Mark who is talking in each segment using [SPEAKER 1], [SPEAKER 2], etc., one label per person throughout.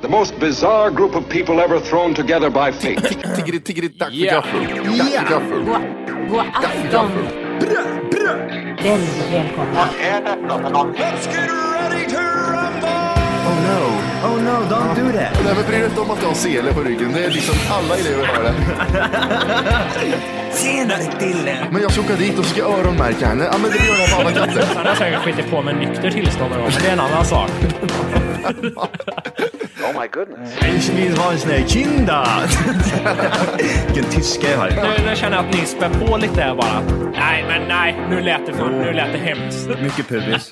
[SPEAKER 1] The most bizarre group of people ever thrown together by fate.
[SPEAKER 2] Tiggeri, tiggeri, tack för gaffel. Tack för gaffel.
[SPEAKER 3] God afton! Väldigt välkomna.
[SPEAKER 4] Oh no, oh no, don't do that.
[SPEAKER 2] Nej, men bry dig inte om att jag har sele på ryggen. Det är liksom alla elever har det.
[SPEAKER 4] Tjenare killen.
[SPEAKER 2] Men jag ska åka dit och ska öronmärka henne. Ja, men det gör jag på alla katter.
[SPEAKER 5] Han har säkert skitit på med nykter tillstånd någon gång, men det är en annan sak.
[SPEAKER 4] Ich vill ha en sån här kinda. Vilken tyska jag har.
[SPEAKER 5] Nu, nu känner jag att ni spär på lite här bara. Nej, men nej. Nu lät det, för, nu lät det hemskt.
[SPEAKER 4] Mycket pubis.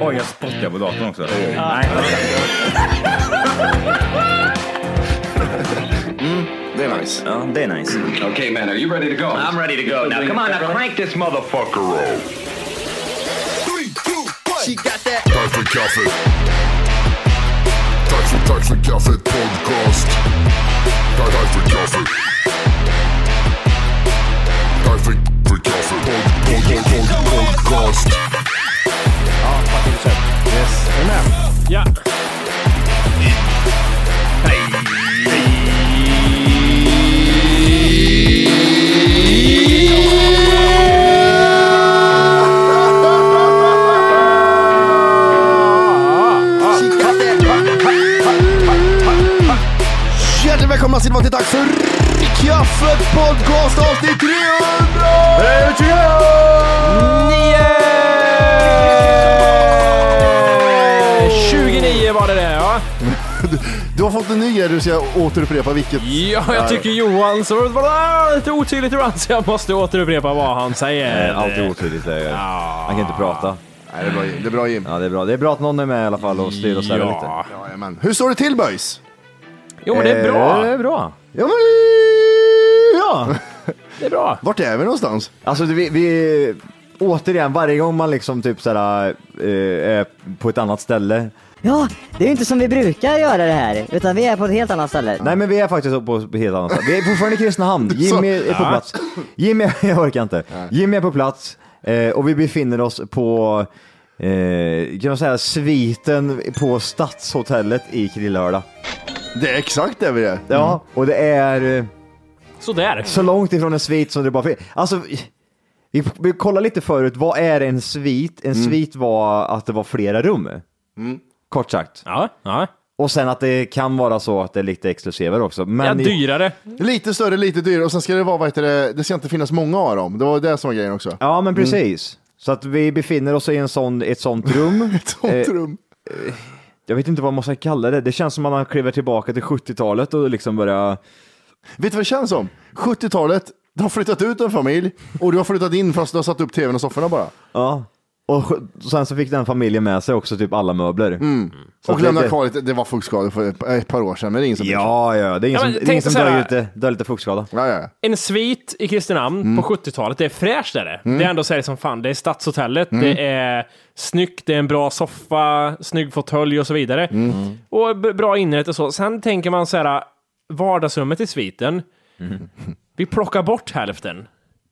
[SPEAKER 4] Oj, jag spottar på datorn också. Nej.
[SPEAKER 2] Det är nice.
[SPEAKER 4] Ja, det är nice.
[SPEAKER 1] okay, man, are you ready to go?
[SPEAKER 6] I'm ready to go. Now, come on, now crank this motherfucker roll.
[SPEAKER 2] Tack för kaffet. Tack för, tack för kaffet podcast. Tack, tack för kaffet. Tack för, för kaffet pod, pod, pod, pod, podcast.
[SPEAKER 5] Ja.
[SPEAKER 7] Hjärtligt välkomna ska ni vara till dags för Kaffet Podcast avsnitt 300!
[SPEAKER 5] Eh, 29 var det det, ja.
[SPEAKER 2] Du har fått en ny här, du ska återupprepa vilket.
[SPEAKER 5] Ja, jag tycker Johan så var lite otydligt ibland, så jag måste återupprepa vad han säger.
[SPEAKER 7] Alltid Eh, otydligt läge. Han kan inte prata.
[SPEAKER 2] Nej, det, är bra, det är bra Jim.
[SPEAKER 7] Ja, det är bra. Det är bra att någon är med i alla fall och styr och ställer lite.
[SPEAKER 5] Ja.
[SPEAKER 2] Jajamän. Hur står det till boys?
[SPEAKER 5] Jo, men det är
[SPEAKER 7] Eh, Det
[SPEAKER 5] bra.
[SPEAKER 7] är bra.
[SPEAKER 2] Ja, men, ja.
[SPEAKER 5] Det är bra.
[SPEAKER 2] Vart är vi någonstans?
[SPEAKER 7] Alltså vi, vi, återigen, varje gång man liksom typ såhär, eh, är på ett annat ställe.
[SPEAKER 3] Ja, det är ju inte som vi brukar göra det här, utan vi är på ett helt annat ställe.
[SPEAKER 7] Nej men vi är faktiskt på ett helt annat ställe. Vi är fortfarande i Kristinehamn, Jimmy är på plats. Jimmy, jag orkar inte. Jimmy är på plats eh, och vi befinner oss på, eh, kan man säga, sviten på Stadshotellet i Krillehörda.
[SPEAKER 2] Det är exakt där vi är.
[SPEAKER 7] Ja, och det är eh,
[SPEAKER 5] Sådär.
[SPEAKER 7] så långt ifrån en svit som det bara finns. Alltså, vi, vi kollade lite förut, vad är en svit? En svit var att det var flera rum. Kort sagt.
[SPEAKER 5] Ja, ja.
[SPEAKER 7] Och sen att det kan vara så att det är lite exklusivare också. Men
[SPEAKER 5] Ja,
[SPEAKER 7] i-
[SPEAKER 5] dyrare.
[SPEAKER 2] Lite större, lite dyrare och sen ska det vara, vad heter det, det ska inte finnas många av dem. Det var det som var grejen också.
[SPEAKER 7] Ja, men precis. Så att vi befinner oss i en sån, ett sånt rum.
[SPEAKER 2] Ett sånt
[SPEAKER 7] Eh,
[SPEAKER 2] rum.
[SPEAKER 7] Jag vet inte vad man ska kalla det. Det känns som att man kliver tillbaka till 70-talet och liksom börjar...
[SPEAKER 2] Vet du vad det känns som? 70-talet, du har flyttat ut en familj och du har flyttat in fast du har satt upp tvn och sofforna bara.
[SPEAKER 7] Ja. Och sj- sen så fick den familjen med sig också typ alla möbler. Så
[SPEAKER 2] Mm. Och
[SPEAKER 7] att
[SPEAKER 2] lämna
[SPEAKER 7] det-
[SPEAKER 2] kvar lite, det var fuktskador för ett- ett par år sedan, men det är ingen som bryr sig.
[SPEAKER 7] Ja, ja, det är ingen
[SPEAKER 5] Ja,
[SPEAKER 7] som,
[SPEAKER 5] men
[SPEAKER 7] det är
[SPEAKER 5] tänk
[SPEAKER 7] ingen som
[SPEAKER 5] så här-
[SPEAKER 7] dör lite, dör lite fuktskada.
[SPEAKER 2] Ja, ja, ja.
[SPEAKER 5] En svit i Kristinehamn på 70-talet, det är fräscht är det. Det är ändå så här som fan, det är Stadshotellet, det är snyggt, det är en bra soffa, snygg fåtölj och så vidare. Och b- bra inrätt och så. Sen tänker man så här, vardagsrummet i sviten, vi plockar bort hälften.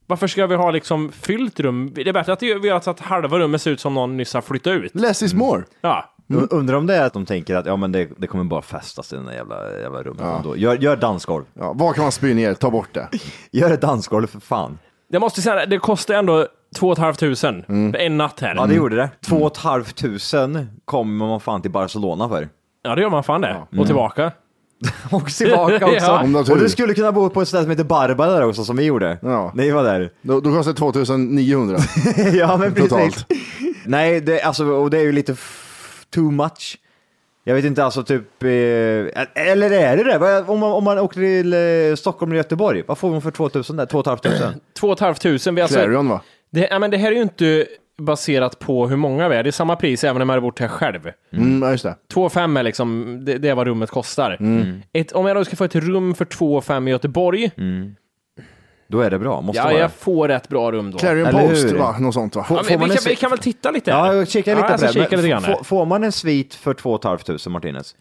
[SPEAKER 5] Varför ska vi ha liksom fyllt rum? Det är bättre att vi gör så att halva rummet ser ut som någon nyss har flyttat ut.
[SPEAKER 2] Less is more.
[SPEAKER 5] Ja.
[SPEAKER 7] Mm. Undrar om det är att de tänker att ja, men det, det kommer bara fästas i den där jävla, jävla rummet ändå. Gör, gör dansgolv.
[SPEAKER 2] Ja, vad kan man spy ner? Ta bort det.
[SPEAKER 7] Gör ett dansgolv för fan.
[SPEAKER 5] Det måste säga, det kostar ändå två och ett halvt tusen en natt här.
[SPEAKER 7] Ja, det
[SPEAKER 2] Mm.
[SPEAKER 7] gjorde det. Två och ett halvt tusen kommer man fan till Barcelona för.
[SPEAKER 5] Ja, det gör man fan det. Och tillbaka.
[SPEAKER 7] Och tillbaka också.
[SPEAKER 5] Ja.
[SPEAKER 2] Om du har tur.
[SPEAKER 7] Och du skulle kunna bo på ett ställe som heter Barbara där också, som vi gjorde.
[SPEAKER 2] Ja.
[SPEAKER 7] När vi var där.
[SPEAKER 2] Då, då kostar det 2900.
[SPEAKER 7] ja, men precis.
[SPEAKER 2] Totalt.
[SPEAKER 7] Nej, det, alltså, och det är ju lite f- too much. Jag vet inte, alltså typ... Eh, eller är det det? Vad- Om man, om man åker till eh, Stockholm eller Göteborg, vad får man för 2000 där? 2 500?
[SPEAKER 5] Två och ett halvt tusen. Vi alltså,
[SPEAKER 2] Clarion va?
[SPEAKER 5] det, ja, men det här är ju inte baserat på hur många vi är. Det är samma pris även om jag hade bott här själv.
[SPEAKER 2] Mm, ja, just det.
[SPEAKER 5] 2 5 är liksom, det, det är vad rummet kostar. Mm. Ett, om jag då ska få ett rum för 2 5 i Göteborg,
[SPEAKER 7] Då är det bra, måste
[SPEAKER 5] ja,
[SPEAKER 7] vara.
[SPEAKER 5] jag får ett bra rum då.
[SPEAKER 2] Clarion
[SPEAKER 7] Eller
[SPEAKER 2] Post
[SPEAKER 7] hur?
[SPEAKER 2] va? Något sånt va?
[SPEAKER 5] Ja, men vi, kan, vi kan väl titta lite här?
[SPEAKER 7] Ja, jag kikar lite
[SPEAKER 5] ja,
[SPEAKER 7] på
[SPEAKER 5] alltså,
[SPEAKER 7] det.
[SPEAKER 5] Kika
[SPEAKER 7] Men
[SPEAKER 5] lite grann
[SPEAKER 7] f-
[SPEAKER 5] här.
[SPEAKER 7] får- får man en svit för 2 500 Martinez?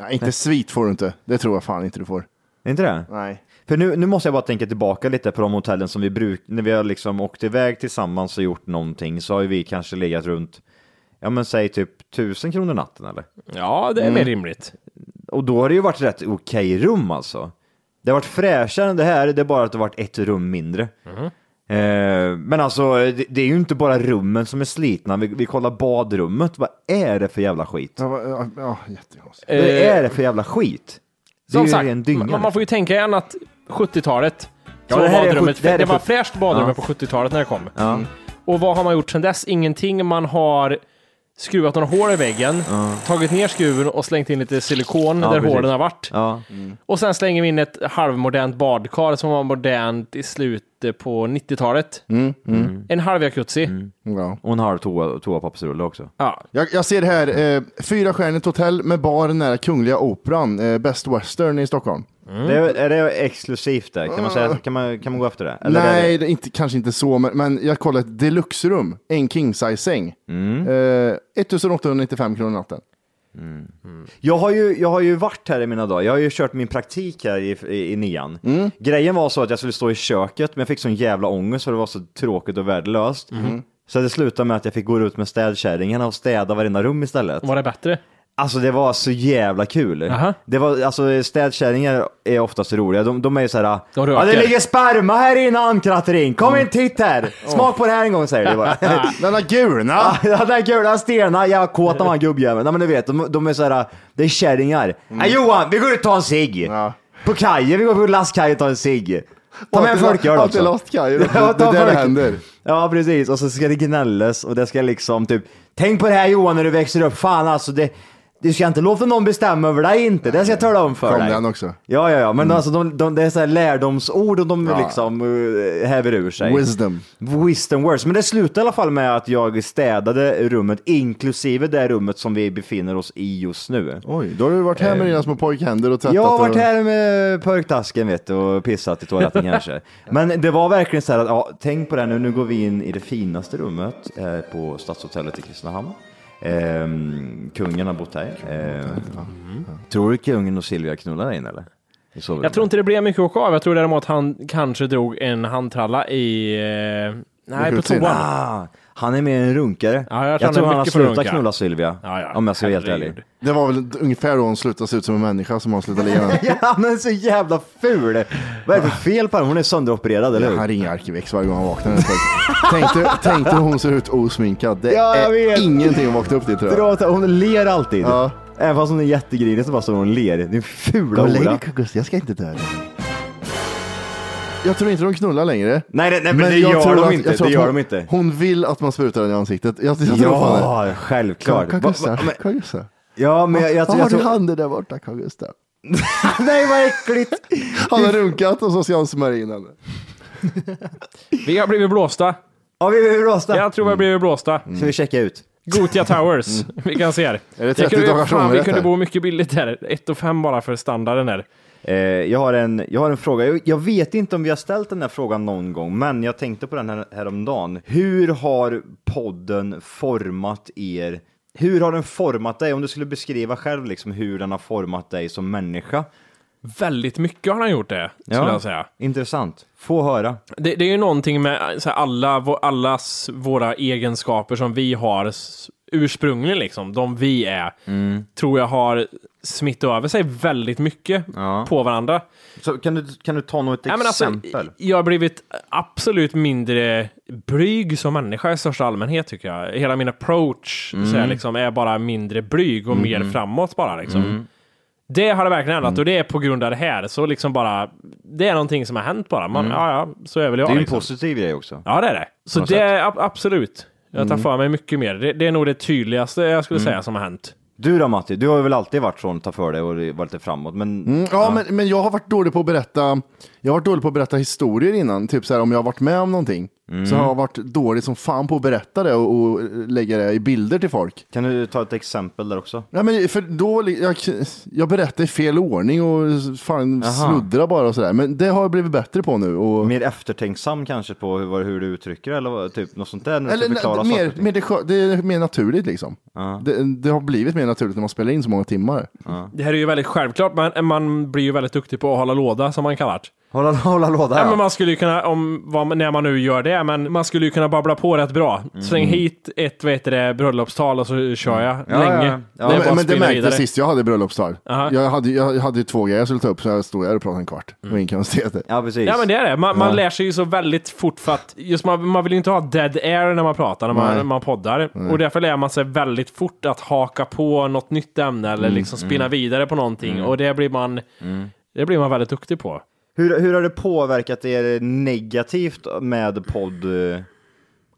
[SPEAKER 2] Ja, inte svit får du inte. Det tror jag fan inte du får.
[SPEAKER 7] Är inte det?
[SPEAKER 2] Nej.
[SPEAKER 7] För nu, nu måste jag bara tänka tillbaka lite på de hotellen som vi brukar, när vi har liksom åkt iväg tillsammans och gjort någonting så har ju vi kanske legat runt, ja men säg typ tusen kronor natten eller?
[SPEAKER 5] Ja, det är mer rimligt.
[SPEAKER 7] Och då har det ju varit rätt okej rum alltså. Det har varit fräschare än det här, det är bara att det har varit ett rum mindre.
[SPEAKER 5] Mhm.
[SPEAKER 7] Eh, men alltså, det, det är ju inte bara rummen som är slitna, vi, vi kollar badrummet, vad är det för jävla skit?
[SPEAKER 2] Ja, va- ja, ja jättekonstigt.
[SPEAKER 7] Vad är det för jävla skit? Det är
[SPEAKER 5] Eh, Som
[SPEAKER 7] ju
[SPEAKER 5] sagt,
[SPEAKER 7] en dynga. liksom.
[SPEAKER 5] man, man får ju tänka igen att 70-talet,
[SPEAKER 7] Ja,
[SPEAKER 5] så
[SPEAKER 7] det
[SPEAKER 5] var
[SPEAKER 7] här är
[SPEAKER 5] badrummet,
[SPEAKER 7] sjut- det här
[SPEAKER 5] det,
[SPEAKER 7] är
[SPEAKER 5] var
[SPEAKER 7] sjut-
[SPEAKER 5] fräscht badrum
[SPEAKER 7] Ja.
[SPEAKER 5] på 70-talet när det kom. Mm.
[SPEAKER 7] Ja.
[SPEAKER 5] Och vad har man gjort sedan dess? Ingenting. Man har skruvat några hål i väggen, tagit ner skruven och slängt in lite silikon
[SPEAKER 7] Ja,
[SPEAKER 5] där
[SPEAKER 7] precis.
[SPEAKER 5] hålen har varit.
[SPEAKER 7] liksom. Ja.
[SPEAKER 5] Och sen slänger vi in ett halvmodernt badkar som var modernt i slutet på 90-talet.
[SPEAKER 7] Mm,
[SPEAKER 5] En halv jacuzzi.
[SPEAKER 2] Ja.
[SPEAKER 7] Och en halv toa, toapappersrulle också.
[SPEAKER 5] Ja.
[SPEAKER 2] Jag, jag ser här, eh, fyrastjärnigt hotell med bar nära Kungliga Operan, eh, Best Western i Stockholm.
[SPEAKER 5] Mm.
[SPEAKER 7] Det är, är det exklusivt där? Kan man, säga, kan man, kan man gå efter det? Eller
[SPEAKER 2] Nej,
[SPEAKER 7] Är det,
[SPEAKER 2] det är inte, kanske inte så, men, men jag kollade ett deluxe-rum, en king size säng.
[SPEAKER 7] Mm.
[SPEAKER 2] Eh, 1895 kronor natten.
[SPEAKER 7] jag, har ju, jag har ju varit här i mina dagar, jag har ju kört min praktik här i, i, i nian.
[SPEAKER 5] Mm.
[SPEAKER 7] Grejen var så att jag skulle stå i köket, men jag fick sån jävla ångest för det var så tråkigt och värdelöst.
[SPEAKER 5] Mm.
[SPEAKER 7] Så det slutade med att jag fick gå ut med städkärringarna och städa varenda rum istället.
[SPEAKER 5] Var det bättre?
[SPEAKER 7] Alltså det var så jävla kul.
[SPEAKER 5] Aha.
[SPEAKER 7] Det var, alltså städkärringar är oftast roliga. De, de är ju såhär,
[SPEAKER 5] De
[SPEAKER 7] ja det
[SPEAKER 5] röker." Mm.
[SPEAKER 7] ligger sperma här inne ankrattering, kom in titt här! Smak på det här en gång säger de bara.
[SPEAKER 2] Denna gulna!
[SPEAKER 7] Ja, den gula stena, jag kåt av han gubbjäveln. Nej men du vet, de, de är såhär, det är kärringar. Nej Johan, vi går ut och tar en cigg!
[SPEAKER 2] Ja.
[SPEAKER 7] På kajen, vi går på lastkajen och tar en cigg. Ta med en folköl
[SPEAKER 2] också.
[SPEAKER 7] också.
[SPEAKER 2] Lost Kaj, det
[SPEAKER 7] Ja,
[SPEAKER 2] är
[SPEAKER 7] ta
[SPEAKER 2] där det
[SPEAKER 7] folk-
[SPEAKER 2] händer.
[SPEAKER 7] Ja precis, och så ska det gnällas och det ska liksom typ, tänk på det här Johan när du växer upp, fan alltså det, du ska inte låta någon bestämma över dig inte, det ska jag tala om för
[SPEAKER 2] Kom
[SPEAKER 7] dig.
[SPEAKER 2] den också. Mm.
[SPEAKER 7] Ja, ja, ja, men alltså de, de, det är så här lärdomsord och de
[SPEAKER 2] Ja.
[SPEAKER 7] liksom eh, häver ur sig.
[SPEAKER 2] Wisdom.
[SPEAKER 7] Wisdom words. Men det slutade i alla fall med att jag städade rummet, inklusive det rummet som vi befinner oss i just nu.
[SPEAKER 2] Oj, då har du varit här med dina små pojkhänder och tvättat.
[SPEAKER 7] Eh. Jag har varit
[SPEAKER 2] och...
[SPEAKER 7] här med pörktasken vet du och pissat i toaletten kanske. Men det var verkligen så här att, ja, tänk på det här nu, nu går vi in i det finaste rummet eh, på Stadshotellet i Kristinehamn. Ehm, kungen har bott här. Ehm, Tror du kungen och Silvia knullar in eller? I sovrummet?
[SPEAKER 5] Jag tror inte det blev mycket att åka av. Jag tror däremot han kanske drog en handtralla i... Eh, nej, på
[SPEAKER 2] Jacuzzi.
[SPEAKER 5] toan.
[SPEAKER 7] Ah, han är mer en runkare.
[SPEAKER 5] Ja,
[SPEAKER 7] jag
[SPEAKER 5] jag tror han
[SPEAKER 7] tror
[SPEAKER 5] är
[SPEAKER 7] han har
[SPEAKER 5] mycket för
[SPEAKER 7] slutat
[SPEAKER 5] runka.
[SPEAKER 7] knulla Sylvia.
[SPEAKER 5] Ja, ja.
[SPEAKER 7] Om jag ska vara helt
[SPEAKER 5] Herregud.
[SPEAKER 7] ärlig.
[SPEAKER 2] Det var väl ungefär då hon slutade se ut som en människa som hon slutade leva. med.
[SPEAKER 7] Ja, han är så jävla ful. Vad är det för fel på henne? Hon är sönderopererad, eller hur?
[SPEAKER 2] Han ringer Arkivex varje gång han vaknar. den pojken. Tänk dig- Tänk dig hur hon ser ut osminkad. Det
[SPEAKER 7] Ja, jag
[SPEAKER 2] är
[SPEAKER 7] vet.
[SPEAKER 2] ingenting att vakna upp till tror jag.
[SPEAKER 7] Dra åt- Hon ler alltid.
[SPEAKER 2] Ja.
[SPEAKER 7] Även fast hon är jättegrinig så bara står hon och ler. Din fula hora.
[SPEAKER 2] Kukus, jag ska inte dö. Jag tror inte de knullar längre.
[SPEAKER 7] Nej, nej, nej, men det gör de inte.
[SPEAKER 2] jag tror
[SPEAKER 7] Det gör
[SPEAKER 2] hon,
[SPEAKER 7] de inte.
[SPEAKER 2] Hon vill att man sprutar den i ansiktet. Jag, jag tror fan det.
[SPEAKER 7] Ja, självklart.
[SPEAKER 2] Carl
[SPEAKER 7] Va-
[SPEAKER 2] Gustaf,
[SPEAKER 7] va- men-
[SPEAKER 2] Carl Gustaf.
[SPEAKER 7] Ja, men jag, jag,
[SPEAKER 2] Vad
[SPEAKER 7] jag,
[SPEAKER 2] har du
[SPEAKER 7] tror...
[SPEAKER 2] i handen där borta Carl Gustaf?
[SPEAKER 7] Nej, vad äckligt!
[SPEAKER 2] Han har runkat och så ska han smörja in henne.
[SPEAKER 5] Vi har blivit blåsta.
[SPEAKER 7] Ja, vi behöver rosta.
[SPEAKER 5] Jag tror vi har blivit blåsta.
[SPEAKER 7] Ska vi checka ut?
[SPEAKER 5] Gotia Towers. Vi kan se här.
[SPEAKER 2] Mm. Är det 30
[SPEAKER 5] kunde,
[SPEAKER 2] dagars
[SPEAKER 5] fan, vi
[SPEAKER 2] ångerrätt
[SPEAKER 5] kunde
[SPEAKER 2] här?
[SPEAKER 5] bo mycket billigt där. 1 och 5 bara för standarden där.
[SPEAKER 7] Eh, jag, har en, jag har en fråga. Jag, jag vet inte om vi har ställt den här frågan någon gång, men jag tänkte på den här häromdagen. Hur har podden format er? Hur har den format dig? Om du skulle beskriva själv liksom hur den har format dig som människa.
[SPEAKER 5] Väldigt mycket har han gjort det, skulle jag säga.
[SPEAKER 7] Intressant. Få höra.
[SPEAKER 5] Det, det är ju någonting med så här, alla, vå- allas våra egenskaper som vi har s- ursprungligen, liksom, de vi är,
[SPEAKER 2] Mm.
[SPEAKER 5] tror jag har smittat över sig väldigt mycket på varandra.
[SPEAKER 7] Så kan, du, kan du ta något
[SPEAKER 5] Ja, men alltså,
[SPEAKER 7] exempel?
[SPEAKER 5] jag har blivit absolut mindre blyg som människa i största allmänhet tycker jag. Hela min approach så
[SPEAKER 7] Mm.
[SPEAKER 5] här, liksom, är bara mindre blyg och mer
[SPEAKER 7] Mm-hmm.
[SPEAKER 5] framåt bara. Liksom.
[SPEAKER 7] Mm.
[SPEAKER 5] Det har det verkligen ändrat och det är på grund av det här. Så liksom bara, det är någonting som har hänt bara. Man, ja, ja, så är väl jag.
[SPEAKER 7] Mm. det är ju en
[SPEAKER 5] liksom.
[SPEAKER 7] positiv grej också.
[SPEAKER 5] Ja, det är det. Så
[SPEAKER 7] något Mm.
[SPEAKER 5] det är ab- absolut. Jag tar för mig mycket mer. Det, det är nog det tydligaste jag skulle säga som har hänt.
[SPEAKER 7] Du då Matti, du har väl alltid varit sån, ta för dig och varit lite framåt, men
[SPEAKER 2] Mm, ja, Men, men jag har varit dålig på att berätta Jag har varit dålig på att berätta historier innan. Typ så här, om jag har varit med om någonting.
[SPEAKER 7] Mm.
[SPEAKER 2] Så har jag varit dålig som fan på att berätta det och, och lägga det i bilder till folk.
[SPEAKER 7] kan du ta ett exempel där också?
[SPEAKER 2] Ja, men för då, li- jag, jag berättar i fel ordning och fan
[SPEAKER 7] Aha.
[SPEAKER 2] sluddrar bara och sådär. Men det har jag blivit bättre på nu. Och,
[SPEAKER 7] Mer eftertänksam kanske på hur, vad- hur du uttrycker det, eller vad- typ något sånt där? När du
[SPEAKER 2] eller
[SPEAKER 7] ska förklara
[SPEAKER 2] nej,
[SPEAKER 7] saker
[SPEAKER 2] mer,
[SPEAKER 7] och ting.
[SPEAKER 2] mer det, skö- det är mer naturligt liksom.
[SPEAKER 7] Ja.
[SPEAKER 2] Det, det har blivit mer naturligt när man spelar in så många timmar.
[SPEAKER 5] Det här är ju väldigt självklart, men man blir ju väldigt duktig på att hålla låda som man kallar det.
[SPEAKER 7] Hålla, hålla låda
[SPEAKER 5] Ja,
[SPEAKER 7] ja.
[SPEAKER 5] men man skulle ju kunna, om, vad, när man nu gör det, men man skulle ju kunna babbla på rätt bra. Släng hit ett vad heter det, bröllopstal och så kör jag
[SPEAKER 7] Ja,
[SPEAKER 5] länge.
[SPEAKER 7] ja, ja.
[SPEAKER 5] Det är bara
[SPEAKER 2] men,
[SPEAKER 5] att
[SPEAKER 2] men det
[SPEAKER 5] spinna
[SPEAKER 2] märkte
[SPEAKER 5] vidare.
[SPEAKER 2] jag sist jag hade bröllopsdag.
[SPEAKER 5] Aha.
[SPEAKER 2] Jag hade, jag hade ju två grejer jag skulle ta upp så jag stod där och pratade en kvart. Det var inga konstigheter.
[SPEAKER 7] ja, precis.
[SPEAKER 5] Ja men det är det. Man, man lär sig ju så väldigt fort för att just man, man vill ju inte ha dead air när man pratar, när man, när man poddar. Och därför lär man sig väldigt fort att haka på något nytt ämne eller liksom spinna vidare på någonting. Och det blir, man, det blir man väldigt duktig på.
[SPEAKER 7] Hur, hur har det påverkat er negativt med podd? eh?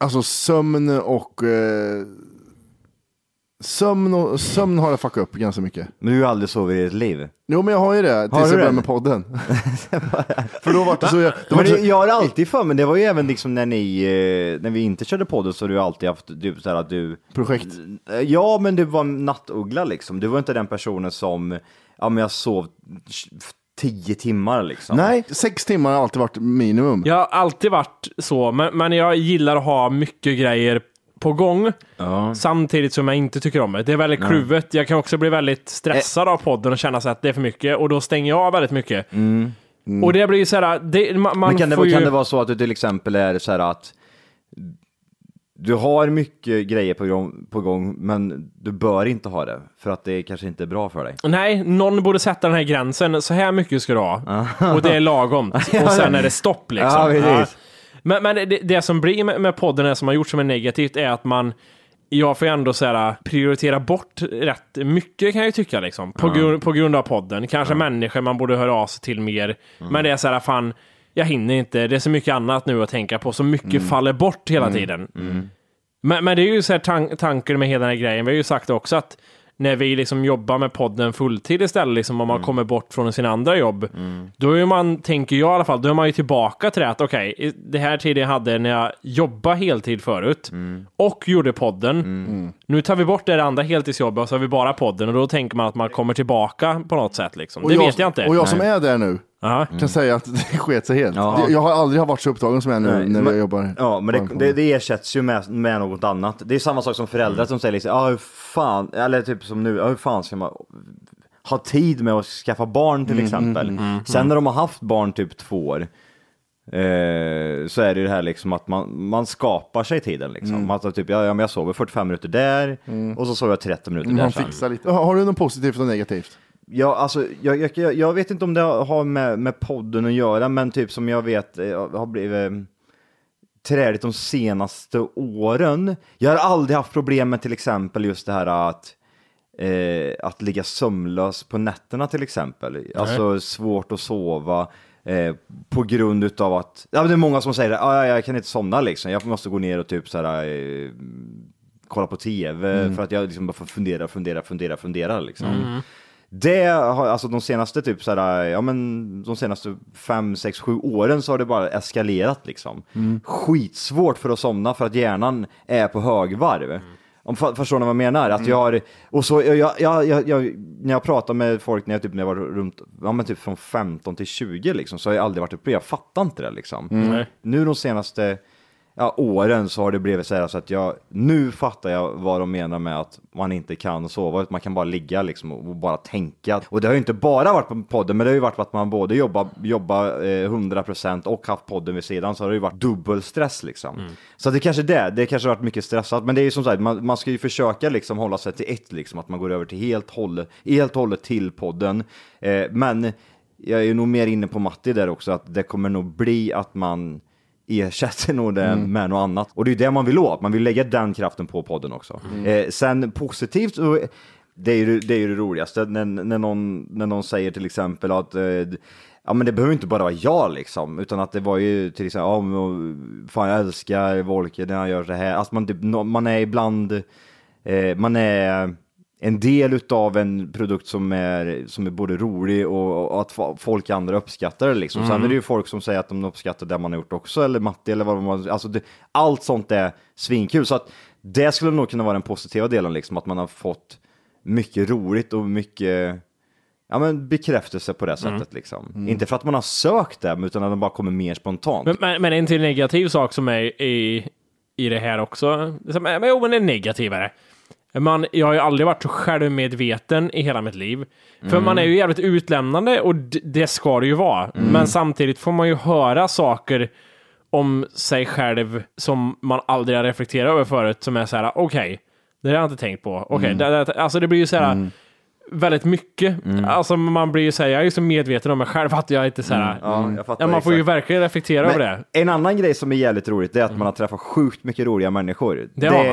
[SPEAKER 2] Alltså sömn och... Eh, sömn, och sömn har jag fuckat upp ganska mycket.
[SPEAKER 7] Men du har ju aldrig sovit i ditt liv.
[SPEAKER 2] Jo men jag har ju det,
[SPEAKER 7] Har
[SPEAKER 2] tills
[SPEAKER 7] du
[SPEAKER 2] jag
[SPEAKER 7] det?
[SPEAKER 2] började med podden. För då var det så... Jag, då var
[SPEAKER 7] Men
[SPEAKER 2] det
[SPEAKER 7] det,
[SPEAKER 2] så
[SPEAKER 7] jag har alltid för mig, det var ju även liksom när ni, eh, när vi inte körde podden så har du alltid haft typ så här att du
[SPEAKER 2] projekt.
[SPEAKER 7] Eh, Ja, men du var en nattuggla liksom. Du var inte den personen som, ja men jag sov tj- tio timmar liksom.
[SPEAKER 2] Nej, sex timmar har alltid varit minimum.
[SPEAKER 5] Jag har alltid varit så, men, men jag gillar att ha mycket grejer på gång. Samtidigt som jag inte tycker om det. Det är väldigt kluvet. Jag kan också bli väldigt
[SPEAKER 7] Eh.
[SPEAKER 5] stressad av podden och känna så att det är för mycket. Och då stänger jag av väldigt mycket. Och det blir ju såhär, det, man, man
[SPEAKER 7] Mm. Men kan det,
[SPEAKER 5] får ju...
[SPEAKER 7] kan det vara så att du till exempel är så här att du har mycket grejer på gång, på gång, men du bör inte ha det för att det kanske inte är bra för dig.
[SPEAKER 5] Nej, någon borde sätta den här gränsen. Så här mycket ska du ha. Och det är lagom. Och sen är det stopp liksom.
[SPEAKER 7] Ah. Ja, precis.
[SPEAKER 5] Men, men det, det som blir med, med podden, här, som har gjort som är negativt, är att man jag får ju ändå så här, prioritera bort rätt mycket kan jag ju tycka liksom. På, grund, på grund av podden. Kanske människor man borde höra av sig till mer.
[SPEAKER 7] Mm.
[SPEAKER 5] Men det är så här, fan, jag hinner inte. Det är så mycket annat nu att tänka på. Så mycket
[SPEAKER 7] Mm.
[SPEAKER 5] faller bort hela tiden. Men, men det är ju så här tan- tanken med hela den här grejen. Vi har ju sagt också att när vi liksom jobbar med podden fulltid istället, liksom om man kommer bort från sina andra jobb, då är man, tänker jag i alla fall, då är man ju tillbaka till det att okej, i- det här tiden jag hade när jag jobbade heltid förut och gjorde podden, nu tar vi bort det där andra heltidsjobbet och så har vi bara podden och då tänker man att man kommer tillbaka på något sätt liksom.
[SPEAKER 2] Och
[SPEAKER 5] Det vet jag inte.
[SPEAKER 2] Och jag som är där nu
[SPEAKER 5] Aha.
[SPEAKER 2] kan säga att det sket sig helt.
[SPEAKER 7] Mm. Ja.
[SPEAKER 2] Det- Jag har aldrig varit så upptagen som jag är nu
[SPEAKER 7] Nej,
[SPEAKER 2] när
[SPEAKER 7] men-
[SPEAKER 2] jag jobbar.
[SPEAKER 7] Ja, men det, det, det ersätts ju med, med något annat. Det är samma sak som föräldrar som säger liksom, ah, hur fan, eller typ som nu, ah, hur fan ska man ha tid med att skaffa barn till exempel. Sen när de har haft barn typ två år, eh, så är det ju det här liksom att man, man skapar sig tiden liksom. Alltså typ, ja, ja men jag sover 45 minuter där och så sover jag 30 minuter där
[SPEAKER 2] Man
[SPEAKER 7] sen.
[SPEAKER 2] fixar lite. Har har du något positivt och negativt?
[SPEAKER 7] Ja, alltså, jag, jag, jag- jag vet inte om det har med, med podden att göra, men typ som jag vet eh, har blivit eh, träligt de senaste åren. Jag har aldrig haft problem med till exempel just det här att, eh, att ligga sömnlös på nätterna till exempel. Alltså svårt att sova. Eh, på grund utav att, ja men det är många som säger att jag kan inte somna liksom, jag måste gå ner och typ så här, eh, kolla på tv för att jag liksom bara får fundera, fundera, fundera, fundera liksom. Det har, alltså de senaste typ så här, ja men de senaste fem sex sju åren så har det bara eskalerat liksom. Skitsvårt för att somna för att hjärnan är på högvarv. Om, fa- förstår ni vad jag menar? Att jag har, och så, jag, jag, jag, jag, jag, när jag pratar med folk när jag, typ, när jag var runt, ja men typ från
[SPEAKER 5] Mm.
[SPEAKER 7] 15 till 20 liksom, så har jag aldrig varit uppe, jag fattar inte det liksom. Nu de senaste ja, åren så har det blivit så här så att jag, nu fattar jag vad de menar med att man inte kan sova, utan man kan bara ligga liksom och och bara tänka. Och det har ju inte bara varit på podden, men det har ju varit på att man både jobbar jobba, eh, 100% och haft podden vid sidan, så har det ju varit dubbel stress liksom. Så det kanske är det, det kanske har varit mycket stressat, men det är ju som sagt, man, man ska ju försöka liksom hålla sig till ett, liksom, att man går över till helt hållet, helt hållet till podden. Eh, men jag är ju nog mer inne på Matti där också, att det kommer nog bli att man ersätter nog det med något annat. Och det är ju det man vill åt, man vill lägga den kraften på podden också. Eh, sen positivt, så- det är ju det, är ju det roligaste, när, när, någon, när någon säger till exempel att eh, Ja men det behöver ju inte bara vara jag liksom, utan att det var ju till exempel, ja men, fan jag älskar Volker när han gör så här, alltså man, typ, nå- man är ibland, eh, man är en del utav en produkt som är, som är både rolig och, och att fo- folk andra uppskattar det liksom. Sen
[SPEAKER 5] Mm.
[SPEAKER 7] är det ju folk som säger att de uppskattar det man har gjort också, eller Matti eller vad man, alltså det, allt sånt är svinkul. Så att det skulle nog kunna vara den positiva delen liksom, att man har fått mycket roligt och mycket ja, men bekräftelse på det sättet
[SPEAKER 5] Mm.
[SPEAKER 7] liksom. Inte för att man har sökt det, utan att den bara kommer mer spontant.
[SPEAKER 5] Men, men, men en till negativ sak som är i, i det här också, som är, men, jo, men är negativare. Man, jag har ju aldrig varit så självmedveten i hela mitt liv. För man är ju jävligt utlämnande och d- det ska det ju vara. Men samtidigt får man ju höra saker om sig själv som man aldrig har reflekterat över förut, som är så här: okej, det där har jag inte tänkt på. Okej, det, det, alltså det blir ju så här väldigt mycket. Alltså man blir ju så här, jag är ju så medveten om mig själv att jag inte så här,
[SPEAKER 7] Ja, jag fattar
[SPEAKER 5] Mm. ja, man får ju
[SPEAKER 7] exakt.
[SPEAKER 5] verkligen reflektera över det. Mm.
[SPEAKER 7] Men en annan grej som är jävligt roligt det är att man har träffat sjukt mycket roliga människor.
[SPEAKER 5] Det har man.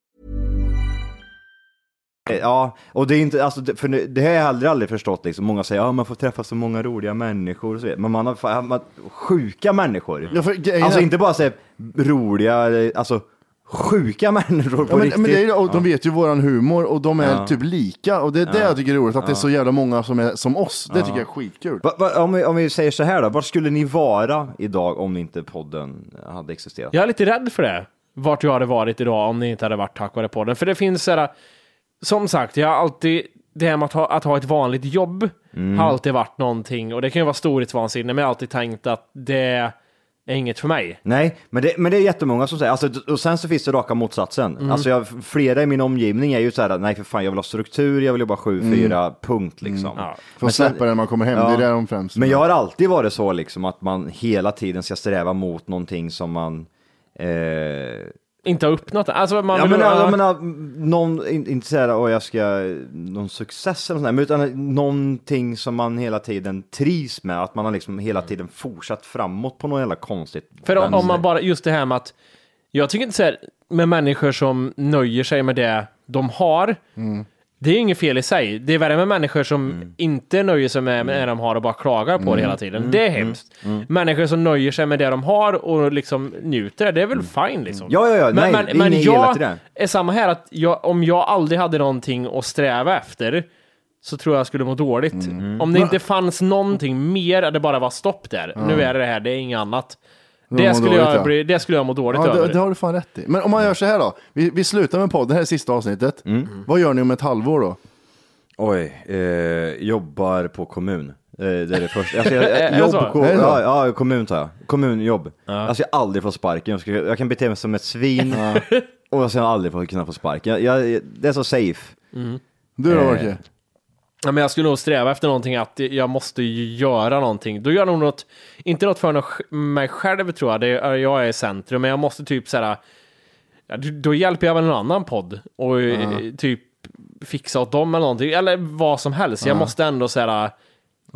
[SPEAKER 7] Eh, Ja, och det är inte, alltså, det- för det det har jag aldrig, aldrig förstått liksom. Många säger att man får träffa så många roliga människor och så vidare. Men man har, fan- man, sjuka människor.
[SPEAKER 2] Ja, för grejen
[SPEAKER 7] alltså
[SPEAKER 2] är-
[SPEAKER 7] inte bara så här, roliga, eh, alltså sjuka människor på
[SPEAKER 2] Ja, men,
[SPEAKER 7] riktigt.
[SPEAKER 2] men det är, ju- och de vet ju våran humor och de är
[SPEAKER 7] Ja.
[SPEAKER 2] typ lika och det är det jag tycker är roligt, att det är så jävla många som är som oss. Det tycker jag är skitkul.
[SPEAKER 7] Va, va, om, vi, om vi säger så här då, var skulle ni vara idag om inte podden hade existerat?
[SPEAKER 5] Jag är lite rädd för det. Vart jag hade varit idag om det inte hade varit tack vare podden. För det finns såhär, som sagt, jag har alltid, det här med att ha, att ha ett vanligt jobb
[SPEAKER 7] Mm.
[SPEAKER 5] har alltid varit någonting. Och det kan ju vara storhetsvansinne, men jag har alltid tänkt att det är inget för mig.
[SPEAKER 7] Nej, men det, men det är jättemånga som säger, alltså, och sen så finns det raka motsatsen.
[SPEAKER 2] Mm.
[SPEAKER 7] Alltså jag, flera i min omgivning är ju så här, nej för fan jag vill ha struktur, jag vill jobba 7-4, punkt liksom.
[SPEAKER 5] Ja.
[SPEAKER 2] Mm. Får
[SPEAKER 7] Men sen-
[SPEAKER 2] släppa det när man kommer hem, det är det de främst.
[SPEAKER 7] Men jag har alltid varit så liksom att man hela tiden ska sträva mot någonting som man eh,
[SPEAKER 5] Inte ha uppnått det. Alltså, man
[SPEAKER 7] Ja,
[SPEAKER 5] vill
[SPEAKER 7] men,
[SPEAKER 5] ha-
[SPEAKER 7] jag menar, någon, in- inte säga åh jag ska, någon success eller sånt där, men utan någonting som man hela tiden trivs med, att man har liksom
[SPEAKER 2] Mm.
[SPEAKER 7] hela tiden fortsatt framåt på något jävla konstigt
[SPEAKER 5] För om, om
[SPEAKER 7] vänster.
[SPEAKER 5] man bara, just det här med att, jag tycker inte så här, med människor som nöjer sig med det de har, det är ju inget fel i sig. Det är värre med människor som inte nöjer sig med det de har och bara klagar på
[SPEAKER 7] Mm.
[SPEAKER 5] det hela tiden. Det är hemskt. Människor som nöjer sig med det de har och liksom njuter, det är väl fine liksom.
[SPEAKER 7] Mm. Ja, ja, ja, nej, det är inget illa
[SPEAKER 5] jag
[SPEAKER 7] till det.
[SPEAKER 5] är samma här, att jag, om jag aldrig hade någonting att sträva efter, så tror jag jag skulle må dåligt.
[SPEAKER 2] Mm.
[SPEAKER 5] Om det inte fanns någonting mer, att det bara var stopp där. Nu är det det här, det är inget annat.
[SPEAKER 2] mår
[SPEAKER 5] Det skulle,
[SPEAKER 2] dåligt, ja.
[SPEAKER 5] jag, bli, det skulle jag må dåligt
[SPEAKER 2] ja,
[SPEAKER 5] över.
[SPEAKER 2] det, det har du fan rätt i. Men om man gör så här då, vi, vi slutar med podden, det här är sista avsnittet.
[SPEAKER 7] Mm.
[SPEAKER 2] Vad gör ni om ett halvår då?
[SPEAKER 7] Oj, eh, jobbar på kommun. Eh, det är det första. Alltså, jag, jag,
[SPEAKER 5] det
[SPEAKER 7] jobb,
[SPEAKER 5] så?
[SPEAKER 7] ko,
[SPEAKER 2] Är det så?
[SPEAKER 7] ja, ja, kommun tar jag. Kommunjobb. Alltså jag har aldrig fått sparken. Jag, ska, jag kan bete mig som ett svin. och sen har jag aldrig fått, kunnat få sparken. Jag, jag, det är så safe.
[SPEAKER 2] Du då
[SPEAKER 7] Eh,
[SPEAKER 2] Orke?
[SPEAKER 5] Ja, men jag skulle nog sträva efter någonting att jag måste ju göra någonting. Då gör jag nog något, inte något för något- mig själv tror jag, det är, jag är i centrum, men jag måste typ så här, ja, d- då hjälper jag väl någon annan podd och eh,
[SPEAKER 7] Ja.
[SPEAKER 5] typ fixa åt dem eller någonting, eller vad som helst. Jag
[SPEAKER 2] Ja.
[SPEAKER 5] måste ändå så här,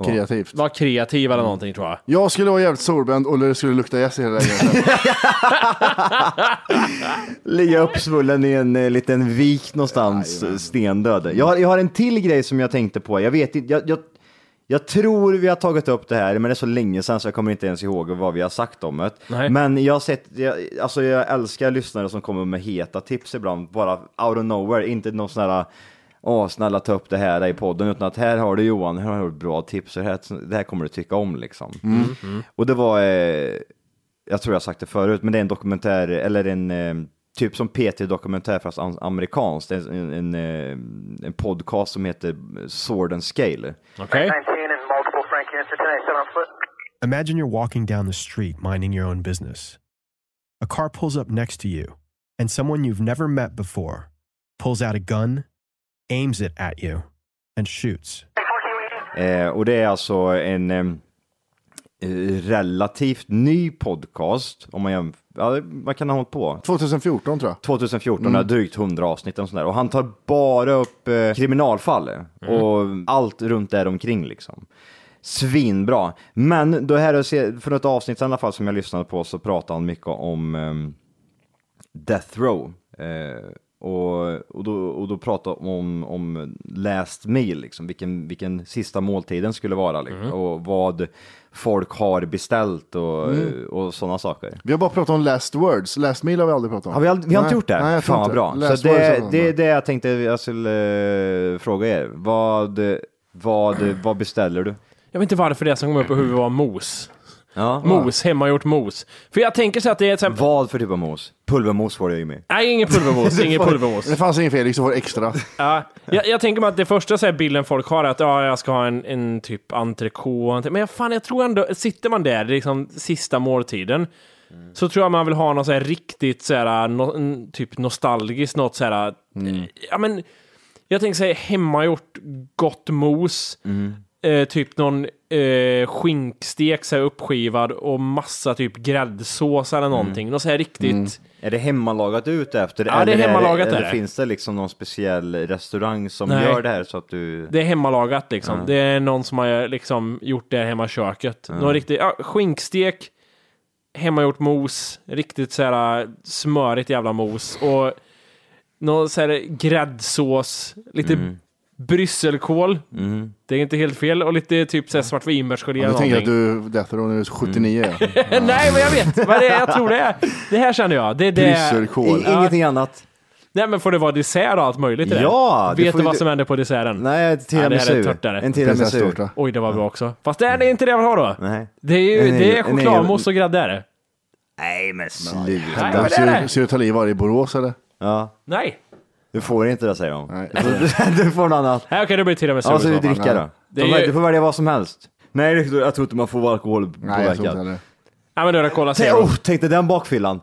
[SPEAKER 2] Kreativt.
[SPEAKER 5] vara kreativ eller någonting tror jag.
[SPEAKER 2] Jag skulle vara jävligt solbränd och det skulle lukta gäss i hela lägenheten.
[SPEAKER 7] Ligga uppsvullen i en eh, liten vik någonstans, stendöd. Jag har, jag har en till grej som jag tänkte på. Jag vet inte, jag, jag, jag tror vi har tagit upp det här, men det är så länge sedan så jag kommer inte ens ihåg vad vi har sagt om det. Men jag har sett, jag, alltså jag älskar lyssnare som kommer med heta tips ibland, bara out of nowhere, inte någon sån här Åh, snälla ta upp det här i podden, utan att här har du Johan, här har du ett bra tips, och det här, det här kommer du tycka om liksom.
[SPEAKER 4] Mm.
[SPEAKER 7] Och det var, eh, jag tror jag har sagt det förut, men det är en dokumentär, eller en eh, typ som PT-dokumentär fast am- amerikansk. Det är en, en, eh, en podcast som heter Sword and Scale.
[SPEAKER 5] Okay.
[SPEAKER 8] Imagine you're walking down the street minding your own business. A car pulls up next to you, and someone you've never met before pulls out a gun, aims it at you, and shoots.
[SPEAKER 7] Eh, och det är alltså en em, eh, relativt ny podcast, om man jämför, ja, vad kan han ha hållit på?
[SPEAKER 2] 2014 tror jag.
[SPEAKER 7] 2014,
[SPEAKER 2] Mm.
[SPEAKER 7] mm. drygt 100 avsnitt och sådär. Och han tar bara upp eh, kriminalfall
[SPEAKER 2] Mm.
[SPEAKER 7] och allt runt där omkring liksom. Svinbra. Men då här, för något avsnitt i alla fall som jag lyssnade på så pratade han mycket om ehm, Death Row. Eh, och, och, då, och då pratade de om, om last meal, liksom, vilken, vilken sista måltiden skulle vara liksom,
[SPEAKER 2] Mm.
[SPEAKER 7] och vad folk har beställt och,
[SPEAKER 2] Mm.
[SPEAKER 7] och sådana saker.
[SPEAKER 2] Vi har bara pratat om last words. Last meal har vi aldrig pratat om.
[SPEAKER 7] Har vi, aldrig, vi har
[SPEAKER 2] Nej.
[SPEAKER 7] inte gjort det?
[SPEAKER 2] Nej, jag tror
[SPEAKER 7] Fan vad
[SPEAKER 2] inte.
[SPEAKER 7] bra.
[SPEAKER 2] Last
[SPEAKER 7] så
[SPEAKER 2] words har vi
[SPEAKER 7] det,
[SPEAKER 2] pratat om.
[SPEAKER 7] det är det jag tänkte jag skulle eh, fråga er. Vad, vad, vad beställer du?
[SPEAKER 5] Jag vet inte varför det som kom upp i huvudet var mos.
[SPEAKER 7] Ja.
[SPEAKER 5] Mos, hemmagjort mos. För jag tänker så att det är ett sånt-
[SPEAKER 7] Vad för typ av mos? Pulvermos var det ju med.
[SPEAKER 5] Nej, ingen pulvermos, ingen pulvermos.
[SPEAKER 2] Det fanns ingen Felix som får extra.
[SPEAKER 5] Ja, jag, jag tänker mig att det första så här, bilden folk har är att ja, jag ska ha en, en typ entrecote. Men jag, fan, jag tror ändå, sitter man där liksom sista måltiden så tror jag man vill ha något så här riktigt så här, no, en typ nostalgiskt, något så här, eh, ja men, jag tänker säga hemmagjort gott mos, eh, typ någon eh, skinkstek så här uppskivad och massa typ gräddsås eller någonting. Något så här riktigt
[SPEAKER 7] Är det hemmalagat du är ute efter?
[SPEAKER 5] Ja, det är
[SPEAKER 7] Eller
[SPEAKER 5] hemmalagat
[SPEAKER 7] eller
[SPEAKER 5] är det.
[SPEAKER 7] finns det liksom någon speciell restaurang som
[SPEAKER 5] Nej.
[SPEAKER 7] gör det här så att du...
[SPEAKER 5] Det är hemmalagat liksom.
[SPEAKER 7] Ja.
[SPEAKER 5] Det är någon som har liksom gjort det hemma i köket.
[SPEAKER 7] Ja.
[SPEAKER 5] Någon riktig, ja, skinkstek, hemmagjort mos, riktigt så här äh, smörigt jävla mos och någon så här gräddsås, lite
[SPEAKER 7] Mm.
[SPEAKER 5] brysselkål.
[SPEAKER 7] Mm.
[SPEAKER 5] Det är inte helt fel och lite typ så här svartvinbärsgelé
[SPEAKER 2] Jag
[SPEAKER 5] eller
[SPEAKER 2] tänker att
[SPEAKER 5] någonting. Eh,
[SPEAKER 2] du Death Row när du är 79.
[SPEAKER 7] Mm.
[SPEAKER 5] Nej, men jag vet vad det är jag tror det är. Det här känner jag. Det är det.
[SPEAKER 2] Brysselkål.
[SPEAKER 5] Ja.
[SPEAKER 7] Ingenting annat.
[SPEAKER 5] Nej, men får det vara dessert och allt möjligt i det?
[SPEAKER 7] Ja, det
[SPEAKER 5] Vet
[SPEAKER 7] får
[SPEAKER 5] du
[SPEAKER 7] ju-
[SPEAKER 5] vad som händer på desserten?
[SPEAKER 7] Nej,
[SPEAKER 5] det här är
[SPEAKER 7] tiramisu.
[SPEAKER 5] törtare.
[SPEAKER 7] En tiramisu.
[SPEAKER 5] Oj, det var bra också. Fast det är det inte det jag vill ha då.
[SPEAKER 7] Nej.
[SPEAKER 5] Det är ju
[SPEAKER 7] En
[SPEAKER 5] det är
[SPEAKER 7] egen- en
[SPEAKER 5] chokladmousse
[SPEAKER 7] egen-
[SPEAKER 5] och grädde är det.
[SPEAKER 7] Nej men sluta.
[SPEAKER 5] Nej, men det är
[SPEAKER 2] Ser
[SPEAKER 5] det.
[SPEAKER 2] du- Ser du ta liv av det i Borås eller?
[SPEAKER 7] Ja.
[SPEAKER 5] Nej.
[SPEAKER 7] Du får inte det säger de. du får något annat.
[SPEAKER 5] Nej, okej, det blir tiramisu.
[SPEAKER 7] Ja, så
[SPEAKER 5] i
[SPEAKER 7] du
[SPEAKER 5] så fall.
[SPEAKER 7] dricka då.
[SPEAKER 5] Det
[SPEAKER 7] De-
[SPEAKER 5] är ju-
[SPEAKER 7] Du får välja vad som helst. Nej, det- jag tror inte man får vara
[SPEAKER 2] Nej, jag tror
[SPEAKER 7] alkoholpåverkad.
[SPEAKER 2] inte heller.
[SPEAKER 5] Nej, men då är det Cola
[SPEAKER 7] Tänk,
[SPEAKER 5] Zero.
[SPEAKER 7] oh, tänk dig den bakfyllan.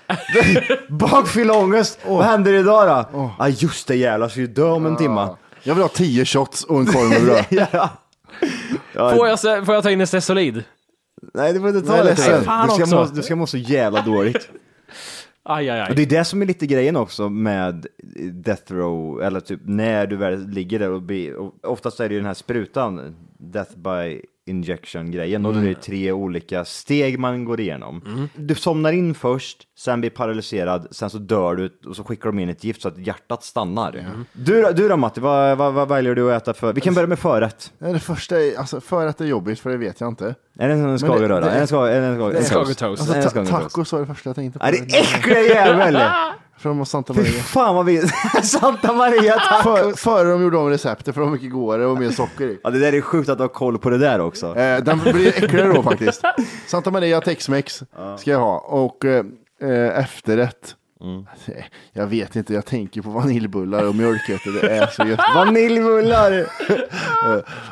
[SPEAKER 7] Bakfylleångest! Vad händer idag då? Ja ah, just det jävlar, jag ska ju dö om en timma.
[SPEAKER 2] Jag vill ha 10 shots och en korv med bröd.
[SPEAKER 7] ja.
[SPEAKER 5] Får jag, se- får jag ta in en Stesolid?
[SPEAKER 7] Nej, du får inte ta
[SPEAKER 5] Nej,
[SPEAKER 7] det.
[SPEAKER 5] ledsen.
[SPEAKER 7] Ted.
[SPEAKER 5] Fan
[SPEAKER 7] Du ska, må,
[SPEAKER 5] också.
[SPEAKER 7] du ska må så jävla dåligt.
[SPEAKER 5] Aj, aj,
[SPEAKER 7] Och
[SPEAKER 5] aj.
[SPEAKER 7] det är det som är lite grejen också med death row, eller typ när du väl ligger där och, blir, och oftast är det ju den här sprutan, death by injection grejen, och då är det tre olika steg man går igenom. Du somnar in först, sen blir paralyserad, sen så dör du och så skickar de in ett gift så att hjärtat stannar. Du, då- du då Matti, vad, vad, vad väljer du att äta för? Vi kan börja med förrätt.
[SPEAKER 2] Nej, Det första är, alltså förrätt är jobbigt för det vet jag inte.
[SPEAKER 7] Är det en skagenröra?
[SPEAKER 2] det-
[SPEAKER 7] Är det en skag- är det en skag-
[SPEAKER 2] det-
[SPEAKER 7] en skag-
[SPEAKER 2] Alltså,
[SPEAKER 7] Är det en
[SPEAKER 2] ta-
[SPEAKER 7] skagenröra?
[SPEAKER 2] tacos var det första jag tänkte på.
[SPEAKER 7] Nej, det är äckliga jävel!
[SPEAKER 2] Från Santa
[SPEAKER 7] Fy
[SPEAKER 2] Maria.
[SPEAKER 7] fan vad vi... Santa Maria
[SPEAKER 2] För, före de gjorde om receptet för de var mycket godare och mer socker i.
[SPEAKER 7] Ja, det där är sjukt att du har koll på det där också.
[SPEAKER 2] Eh, den blir äckligare då faktiskt. Santa Maria Tex-Mex ska jag ha. Och eh, eh, efterrätt.
[SPEAKER 5] Mm.
[SPEAKER 2] Eh, Jag vet inte, jag tänker på vaniljbullar och mjölkete. Det är så gött.
[SPEAKER 7] Eh, Vaniljbullar!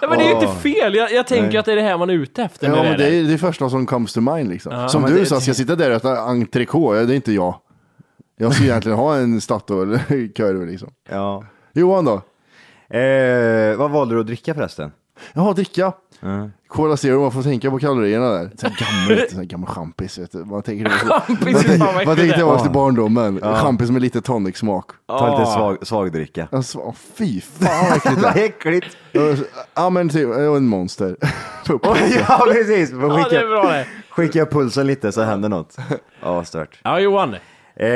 [SPEAKER 5] Ja, men det är ju inte fel. Jag, jag tänker
[SPEAKER 2] Nej.
[SPEAKER 5] att det är det här man är ute efter.
[SPEAKER 2] Ja,
[SPEAKER 5] med
[SPEAKER 2] men
[SPEAKER 5] det
[SPEAKER 2] det
[SPEAKER 5] där.
[SPEAKER 2] är det första som comes to mind liksom.
[SPEAKER 5] Ja.
[SPEAKER 2] Som
[SPEAKER 5] Men
[SPEAKER 2] du
[SPEAKER 5] det-
[SPEAKER 2] sa, ska jag sitta där och äta entrecote? Ja, Det är inte jag. Jag ska egentligen ha en Statoil-korv liksom.
[SPEAKER 7] Ja.
[SPEAKER 2] Johan då?
[SPEAKER 7] Eh, vad valde du att dricka förresten?
[SPEAKER 2] Jaha, dricka.
[SPEAKER 7] Mm.
[SPEAKER 2] Cola Zero, man får tänka på kalorierna där. Sån gammal, sån gammal champis, vet du. Man tänker man
[SPEAKER 7] Champis, fan vad
[SPEAKER 2] tänker,
[SPEAKER 7] äckligt
[SPEAKER 2] man
[SPEAKER 7] det
[SPEAKER 2] tänker
[SPEAKER 7] är.
[SPEAKER 2] tillbaka till barndomen.
[SPEAKER 7] Ja.
[SPEAKER 2] Champis med lite tonicsmak.
[SPEAKER 7] Ta
[SPEAKER 5] Ah.
[SPEAKER 7] lite svag, svag dricka.
[SPEAKER 2] Alltså, åh, fy fan vad äckligt
[SPEAKER 7] Vad äckligt.
[SPEAKER 2] Ja men typ, och en monster.
[SPEAKER 7] ja, precis. Skicka,
[SPEAKER 5] Ja, det är bra det.
[SPEAKER 7] skicka pulsen lite så händer något. Ja, stört.
[SPEAKER 5] Ja, Johan.
[SPEAKER 7] Eh,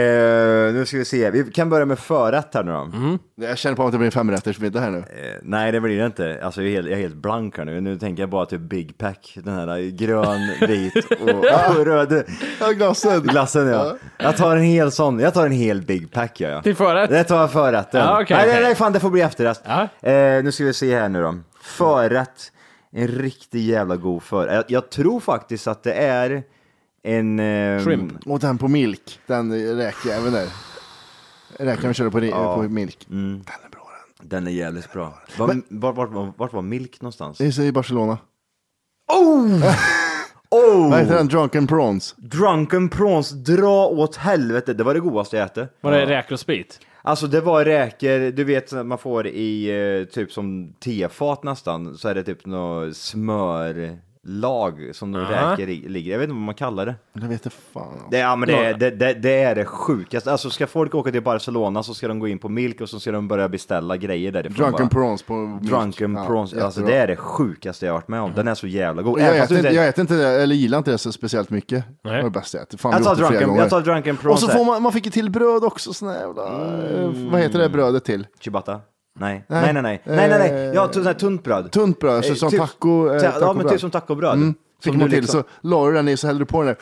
[SPEAKER 7] nu ska vi se. Vi kan börja med förrätt här nu då.
[SPEAKER 5] Mm.
[SPEAKER 2] Jag känner på att det blir en femrättersmiddag här nu.
[SPEAKER 7] Eh, Nej, det blir det inte. Alltså, jag, är helt, jag är helt blank här nu. Nu tänker jag bara typ Big Pack. Den här eh, grön, vit och, och röd.
[SPEAKER 2] Ja, glassen.
[SPEAKER 7] Glassen, ja. Jag tar en hel sån. Jag tar en hel Big Pack, ja. ja.
[SPEAKER 5] Till förrätt?
[SPEAKER 7] Det tar jag förrätten.
[SPEAKER 5] Ja, okej,
[SPEAKER 7] nej,
[SPEAKER 5] okej.
[SPEAKER 7] nej, nej, fan, det får bli efterrätt. Eh, nu ska vi se här nu då. Förrätt. En riktig jävla god förrätt. Jag, jag tror faktiskt att det är en... Eh,
[SPEAKER 2] Och den på milk, den räkjäveln där. Räkan vi körde på,
[SPEAKER 7] Ja.
[SPEAKER 2] på milk.
[SPEAKER 7] Mm. Den är bra den. Den är jävligt bra. Var, var, vart var, vart var Milk någonstans?
[SPEAKER 2] Det är så i Barcelona.
[SPEAKER 7] Oh! oh!
[SPEAKER 2] Vad heter den? Drunken Prawns?
[SPEAKER 7] Drunken prawns, dra åt helvete. Det var det godaste jag ätit.
[SPEAKER 5] Var det räkor och sprit?
[SPEAKER 7] Alltså det var räkor, du vet sånt man får i eh, typ som tefat nästan, så är det typ något smörlag som de
[SPEAKER 2] Aha.
[SPEAKER 7] räkor i, ligger Jag vet inte vad man kallar det.
[SPEAKER 2] Jag vet inte fan.
[SPEAKER 7] Det, ja, men det, är- det, det, det är det sjukaste. Alltså ska folk åka till Barcelona så ska de gå in på Milk och så ska de börja beställa grejer därifrån.
[SPEAKER 2] Drunken
[SPEAKER 7] bara.
[SPEAKER 2] prawns på milk.
[SPEAKER 7] Drunken
[SPEAKER 2] Ja,
[SPEAKER 7] prawns, alltså
[SPEAKER 2] jättebra. Mm.
[SPEAKER 7] det är det sjukaste jag har varit med om. Den är så jävla god. Även
[SPEAKER 2] Jag
[SPEAKER 7] fast
[SPEAKER 2] äter, inte,
[SPEAKER 7] du inte-
[SPEAKER 2] jag äter inte det, eller gillar inte det så speciellt mycket. Det var det bästa jag ätit. Fan,
[SPEAKER 7] Jag
[SPEAKER 2] vi
[SPEAKER 7] tar
[SPEAKER 2] åt det flera
[SPEAKER 7] drunken-
[SPEAKER 2] gånger.
[SPEAKER 7] jag tar drunken prawns
[SPEAKER 2] Och så
[SPEAKER 7] här. Mm.
[SPEAKER 2] får man, man fick ju till bröd också, sån här jävla... eh, Vad heter det brödet till?
[SPEAKER 7] Ciabatta? Nej,
[SPEAKER 2] Nej.
[SPEAKER 7] nej, nej, nej, nej, nej, nej.
[SPEAKER 2] Eh,
[SPEAKER 7] ja, sånt här tunt bröd.
[SPEAKER 2] Tunt bröd, så
[SPEAKER 7] Eh,
[SPEAKER 2] som
[SPEAKER 7] typ-
[SPEAKER 2] taco... eh,
[SPEAKER 7] Ja, men
[SPEAKER 2] tacobröd.
[SPEAKER 7] typ som tacobröd.
[SPEAKER 2] Mm.
[SPEAKER 7] Som
[SPEAKER 2] Fick man
[SPEAKER 7] du
[SPEAKER 2] till,
[SPEAKER 7] liksom-
[SPEAKER 2] så la du den i, så hällde du på den där,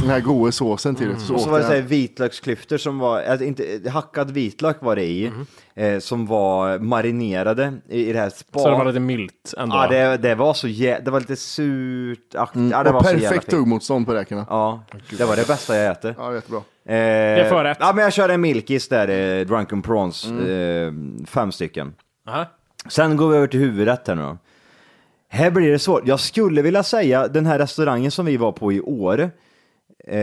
[SPEAKER 2] den här goda såsen till. det, Så
[SPEAKER 7] Mm. Och
[SPEAKER 2] åt
[SPEAKER 7] så var det
[SPEAKER 2] jag
[SPEAKER 7] så här
[SPEAKER 2] den.
[SPEAKER 7] vitlöksklyftor som var, alltså inte, hackad vitlök var det i,
[SPEAKER 2] Mhm.
[SPEAKER 7] eh, som var marinerade i, i det här spa.
[SPEAKER 5] Så det var lite milt ändå?
[SPEAKER 7] Ja, det, det var så jä... det var lite surt, akt- ja, det
[SPEAKER 2] Mm. Och
[SPEAKER 7] var så jävla
[SPEAKER 2] perfekt
[SPEAKER 7] fint.
[SPEAKER 2] tuggmotstånd på räkorna.
[SPEAKER 7] Ja, det var det bästa jag äter.
[SPEAKER 2] Ja, jättebra.
[SPEAKER 7] Eh,
[SPEAKER 2] är förrätt. Mm.
[SPEAKER 7] Ja, men jag kör en milkis där, eh, drunken prawns, eh, fem stycken.
[SPEAKER 5] Aha.
[SPEAKER 7] Sen går vi över till huvudrätt här nu då. Här blir det svårt. Jag skulle vilja säga den här restaurangen som vi var på i år. Eh,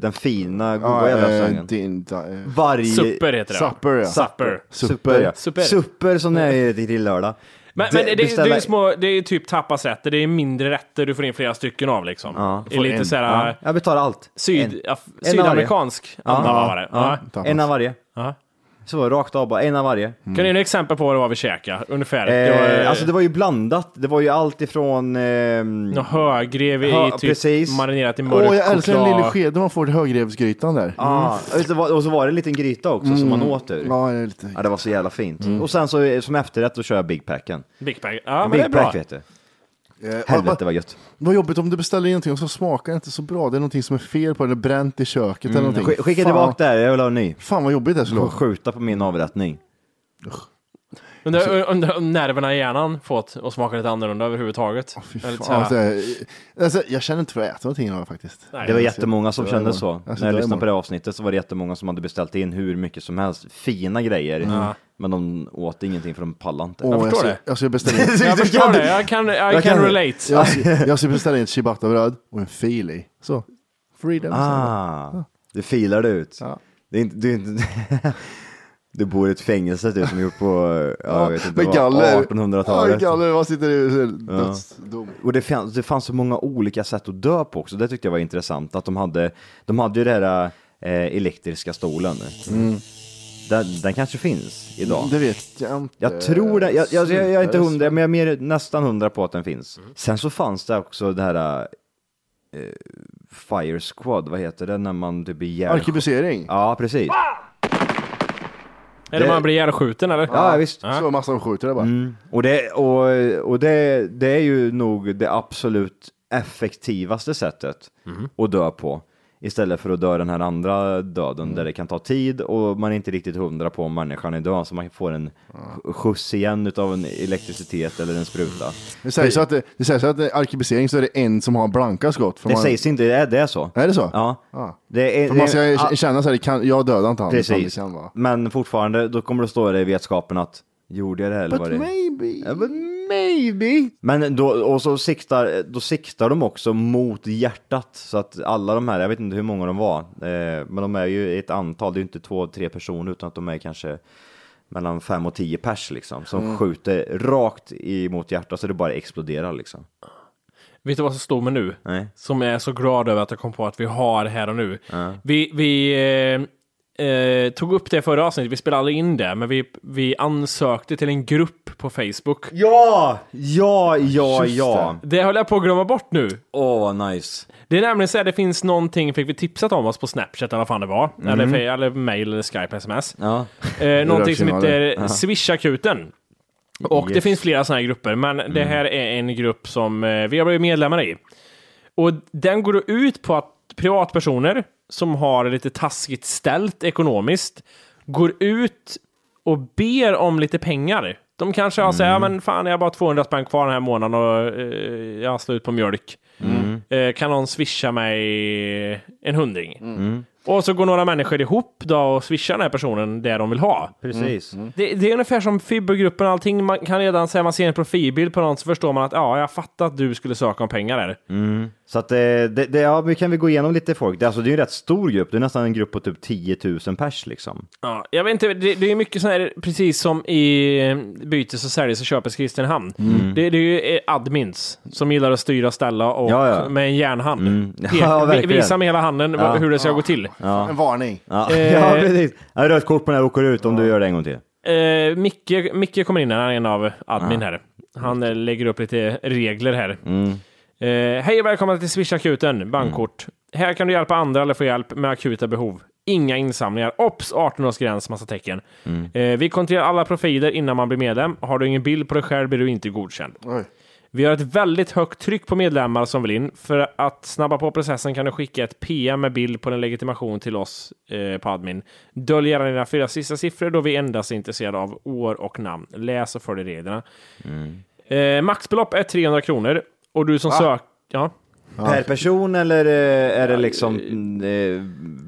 [SPEAKER 7] den fina, goda
[SPEAKER 2] Ja,
[SPEAKER 7] jävla
[SPEAKER 2] eh,
[SPEAKER 7] restaurangen.
[SPEAKER 2] din- da- eh.
[SPEAKER 7] Varje...
[SPEAKER 5] Supper heter det, va?
[SPEAKER 2] Supper, ja.
[SPEAKER 5] Supper.
[SPEAKER 7] Supper, ja.
[SPEAKER 5] Supper.
[SPEAKER 7] Supper. som det är till lördag.
[SPEAKER 5] Men, men det, det, är
[SPEAKER 7] beställa-
[SPEAKER 5] ju små, det är ju typ tapasrätter, det är mindre rätter du får in flera stycken av liksom.
[SPEAKER 7] Ja.
[SPEAKER 5] Det är lite såhär...
[SPEAKER 7] Ja, jag betalar allt.
[SPEAKER 5] Syd,
[SPEAKER 7] En-
[SPEAKER 5] af,
[SPEAKER 7] en
[SPEAKER 5] sydamerikansk
[SPEAKER 7] av varje.
[SPEAKER 5] anda
[SPEAKER 7] Ja,
[SPEAKER 5] var det.
[SPEAKER 7] ja.
[SPEAKER 5] Ja.
[SPEAKER 7] En av varje.
[SPEAKER 5] Ja.
[SPEAKER 7] Så var det rakt av bara, en av varje.
[SPEAKER 5] Kan du ge några exempel på vad det var vi käkade? Ungefär.
[SPEAKER 7] Eh,
[SPEAKER 5] Mm. det var,
[SPEAKER 7] Alltså det var ju blandat. Det var ju allt ifrån... ehm,
[SPEAKER 5] Något högrev i
[SPEAKER 7] Ja,
[SPEAKER 5] typ
[SPEAKER 7] precis.
[SPEAKER 5] marinerat i mörk
[SPEAKER 2] Åh, jag älskar den
[SPEAKER 5] choklad.
[SPEAKER 2] lilla skeden man får till högrevsgrytan där.
[SPEAKER 7] Ja, ah, och så var- och så var det en liten gryta också som man
[SPEAKER 2] Mm.
[SPEAKER 7] åt ur.
[SPEAKER 2] Ja, Mm. det är lite...
[SPEAKER 7] Ja, det var så jävla fint. Och sen så som efterrätt då kör jag Big Packen.
[SPEAKER 5] Big Bang. Ja, men
[SPEAKER 7] Big
[SPEAKER 5] det är bra.
[SPEAKER 7] Pack vet du.
[SPEAKER 2] Eh,
[SPEAKER 7] Helvete vad gött.
[SPEAKER 2] Vad jobbigt om du beställer in någonting och så smakar det inte så bra. Det är någonting som är fel på det, eller bränt i köket eller
[SPEAKER 7] Mm,
[SPEAKER 2] någonting.
[SPEAKER 7] sk- Skicka
[SPEAKER 2] Fan.
[SPEAKER 7] tillbaka det här, jag vill ha en ny.
[SPEAKER 2] Fan vad jobbigt det
[SPEAKER 7] Får
[SPEAKER 2] skulle vara.
[SPEAKER 7] skjuta på min avrättning.
[SPEAKER 5] Undrar undrar om nerverna i hjärnan fått att smaka lite annorlunda överhuvudtaget. Eller lite så
[SPEAKER 2] Fan,
[SPEAKER 5] här-
[SPEAKER 2] alltså, eh, alltså, jag känner inte för att äta någonting idag faktiskt.
[SPEAKER 5] Nej.
[SPEAKER 7] Det var jättemånga som
[SPEAKER 2] Det
[SPEAKER 7] kände
[SPEAKER 2] var-
[SPEAKER 7] så.
[SPEAKER 2] alltså, det
[SPEAKER 7] När jag
[SPEAKER 2] var
[SPEAKER 7] lyssnade på det här avsnittet så var det jättemånga som hade beställt in hur mycket som helst. Fina grejer.
[SPEAKER 5] Ja.
[SPEAKER 7] Men de åt ingenting för de pallade inte.
[SPEAKER 2] Åh,
[SPEAKER 5] förstår
[SPEAKER 2] jag
[SPEAKER 5] det.
[SPEAKER 2] ska, jag ska beställa in,
[SPEAKER 5] Jag förstår det, jag kan, I can relate.
[SPEAKER 2] jag ska, jag ska beställa in ett ciabattabröd och en fil i. Så. Freedom.
[SPEAKER 7] Ah, du filar det ut. Det är inte, du, är inte, du bor i ett fängelse du som gjort på ja, jag vet inte,
[SPEAKER 2] Med
[SPEAKER 7] vad,
[SPEAKER 2] galler. Ja, med
[SPEAKER 7] 1800-talet.
[SPEAKER 2] galler. Vad sitter det i? Så här,
[SPEAKER 7] Ja.
[SPEAKER 2] Dödsdom.
[SPEAKER 7] Och det fanns, det fanns så många olika sätt att dö på också, det tyckte jag var intressant. Att de hade, de hade ju den här eh, elektriska stolen.
[SPEAKER 2] Mm.
[SPEAKER 7] Den, den kanske finns idag.
[SPEAKER 2] Det vet jag inte.
[SPEAKER 7] Jag tror det, jag, jag, jag, jag är inte
[SPEAKER 2] Super.
[SPEAKER 7] hundra, men jag är mer, nästan hundra på att den finns. Sen så fanns det också det här eh, Fire Squad, vad heter det, när man typ blir ihjäl-
[SPEAKER 2] Arkebusering.
[SPEAKER 7] Ja, precis.
[SPEAKER 5] Är det man blir ihjälskjuten eller?
[SPEAKER 7] Ja, visst.
[SPEAKER 2] Så massa som skjuter det bara.
[SPEAKER 7] Mm. Och, det, och, och det, det är ju nog det absolut effektivaste sättet att dö på. Istället för att dö den här andra döden där det kan ta tid och man är inte riktigt hundra på om människan är död så man får en sk- skjuts igen utav en elektricitet eller en spruta.
[SPEAKER 2] Det sägs att, det, det sägs att eh, arkebusering så är det en som har blanka skott. För
[SPEAKER 7] Det
[SPEAKER 2] man,
[SPEAKER 7] sägs inte, det är, det är så.
[SPEAKER 2] Är det så?
[SPEAKER 7] Ja.
[SPEAKER 2] Ja.
[SPEAKER 7] Det är,
[SPEAKER 2] För man ska
[SPEAKER 7] det är-
[SPEAKER 2] ju känna så här, det kan, jag dödar inte han. liksom, utan det
[SPEAKER 7] Precis.
[SPEAKER 2] kan vara-
[SPEAKER 7] Men fortfarande, då kommer det stå det i vetskapen att gjorde jag det här eller
[SPEAKER 2] But
[SPEAKER 7] var det?
[SPEAKER 2] maybe.
[SPEAKER 7] Ja, but maybe. Men då, och så siktar, då siktar de också mot hjärtat. Så att alla de här, jag vet inte hur många de var, eh, men de är ju ett antal, det är ju inte två, tre personer utan att de är kanske mellan 5 och 10 pers liksom, som
[SPEAKER 5] Mm.
[SPEAKER 7] skjuter rakt emot hjärtat så det bara exploderar liksom.
[SPEAKER 5] Vet du vad som slår mig nu? Som jag är så glad över att jag kom på att vi har här och nu. Vi, vi eh, eh, tog upp det i förra avsnittet, vi spelade aldrig in det, men vi, vi ansökte till en grupp på Facebook.
[SPEAKER 7] Ja! Ja, ja, ja.
[SPEAKER 5] Det. det höll jag på att glömma bort nu.
[SPEAKER 7] Åh, oh, nice.
[SPEAKER 5] Det är nämligen så här, det finns någonting, fick vi tipsat om oss på Snapchat eller vad fan det var.
[SPEAKER 7] Mm.
[SPEAKER 5] Eller, eller mail eller Skype, sms.
[SPEAKER 7] Ja.
[SPEAKER 5] Eh, någonting som
[SPEAKER 7] Rörsignaler.
[SPEAKER 5] heter
[SPEAKER 7] Ja.
[SPEAKER 5] Swish-akuten. Och
[SPEAKER 7] Yes.
[SPEAKER 5] det
[SPEAKER 7] Mm.
[SPEAKER 5] finns flera sådana här grupper, men det här är en grupp som eh, vi har blivit medlemmar i. Och den går då ut på att privatpersoner som har lite taskigt ställt ekonomiskt går ut och ber om lite pengar. De kanske har säger, ja
[SPEAKER 7] Mm.
[SPEAKER 5] men fan jag har bara 200 spänn kvar den här månaden och eh, jag har slut på mjölk.
[SPEAKER 7] Mm.
[SPEAKER 5] Eh, kan någon swisha mig en hundring?
[SPEAKER 7] Mm.
[SPEAKER 5] Och så går några människor ihop då och swishar den här personen det de vill ha.
[SPEAKER 7] Precis. Mm.
[SPEAKER 5] Det, det är ungefär som fibergruppen och allting. Man kan redan säga man ser en profilbild på någon så förstår man att ja, jag fattar att du skulle söka om pengar där.
[SPEAKER 7] Så att eh, det, det, ja, vi kan vi gå igenom lite folk. Det, alltså, det är ju en rätt stor grupp, det är nästan en grupp på typ 10 000 pers liksom.
[SPEAKER 5] Ja, jag vet inte, det, det är mycket sån här, precis som i eh, bytes och säljs och köpes Kristinehamn.
[SPEAKER 7] Mm.
[SPEAKER 5] Det, det är ju eh, admins som gillar att styra och ställa och
[SPEAKER 7] Ja, ja.
[SPEAKER 5] med en järnhand.
[SPEAKER 7] Mm.
[SPEAKER 5] Peka-
[SPEAKER 7] Ja,
[SPEAKER 5] vi-
[SPEAKER 7] verkligen.
[SPEAKER 5] visa med hela handen vad-
[SPEAKER 7] Ja.
[SPEAKER 5] hur det ska gå till.
[SPEAKER 7] Ja.
[SPEAKER 2] En varning.
[SPEAKER 7] Ja,
[SPEAKER 5] Eh.
[SPEAKER 7] ja precis. Ja, Rött kort på den här åker ut om du gör det en gång till.
[SPEAKER 5] Eh, Micke, Micke kommer in, här, han är en av admin
[SPEAKER 7] Ja.
[SPEAKER 5] här. Han eh, lägger upp lite regler här.
[SPEAKER 7] Mm.
[SPEAKER 5] Eh, Hej och välkomna till Swish-akuten, bankkort.
[SPEAKER 7] Mm.
[SPEAKER 5] Här kan du hjälpa andra eller få hjälp med akuta behov. Inga insamlingar. Ops! 18-årsgräns, massa tecken.
[SPEAKER 7] Mm.
[SPEAKER 5] Eh, vi kontrollerar alla profiler innan man blir medlem. Har du ingen bild på dig själv blir du inte godkänd. Vi har ett väldigt högt tryck på medlemmar som vill in. För att snabba på processen kan du skicka ett PM med bild på din legitimation till oss eh, på admin. Dölj gärna dina fyra sista siffror då vi endast är intresserade av år och namn. Läs och följ reglerna. Eh, maxbelopp är 300 kronor och du som
[SPEAKER 7] Va?
[SPEAKER 5] söker... Ja.
[SPEAKER 7] Per person eller eh, är det liksom eh,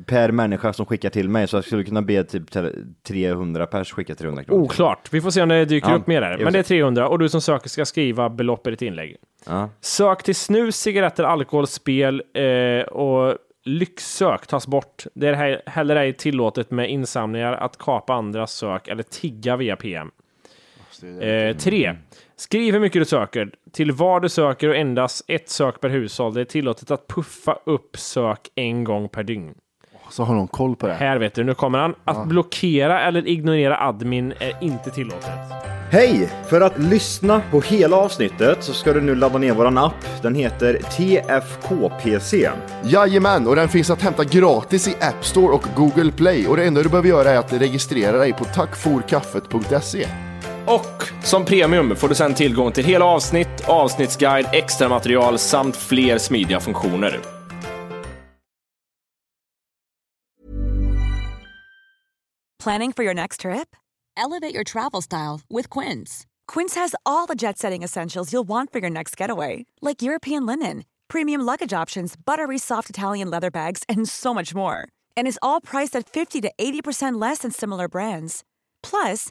[SPEAKER 7] per människa som skickar till mig? Så jag skulle kunna be typ te- 300 pers skicka 300 kronor.
[SPEAKER 5] Oklart. Vi får se om det dyker
[SPEAKER 7] Ja,
[SPEAKER 5] upp mer där.
[SPEAKER 7] just
[SPEAKER 5] Men det är
[SPEAKER 7] det.
[SPEAKER 5] 300 och du som söker ska skriva belopp i ditt inlägg.
[SPEAKER 7] Ja.
[SPEAKER 5] Sök till snus, cigaretter, alkohol, spel eh, och lyxsök tas bort. Det är här- heller ej tillåtet med insamlingar, att kapa andras sök eller tigga via PM.
[SPEAKER 7] Alltså,
[SPEAKER 5] Eh, tre. Skriv hur mycket du söker, till vad du söker och endast ett sök per hushåll. Det är tillåtet att puffa upp sök en gång per dygn.
[SPEAKER 2] Så har någon koll på det.
[SPEAKER 5] Här vet du, nu kommer han. Att
[SPEAKER 2] Ja.
[SPEAKER 5] blockera eller ignorera admin är inte tillåtet.
[SPEAKER 7] Hej! För att lyssna på hela avsnittet så ska du nu ladda ner våran app. Den heter TFKPC.
[SPEAKER 2] Jajamän, och den finns att hämta gratis i App Store och Google Play. Och det enda du behöver göra är att registrera dig på tackforkaffet.se.
[SPEAKER 9] Och som premium får du sedan tillgång till hela avsnitt, avsnittsguide, extra material samt fler smidiga funktioner.
[SPEAKER 10] Planning for your next trip? Elevate your travel style with Quince. Quince has all the jet setting essentials you'll want for your next getaway, like European linen, premium luggage options, buttery soft Italian leather bags, and so much more. And is all priced at 50 to 80% less than similar brands. Plus,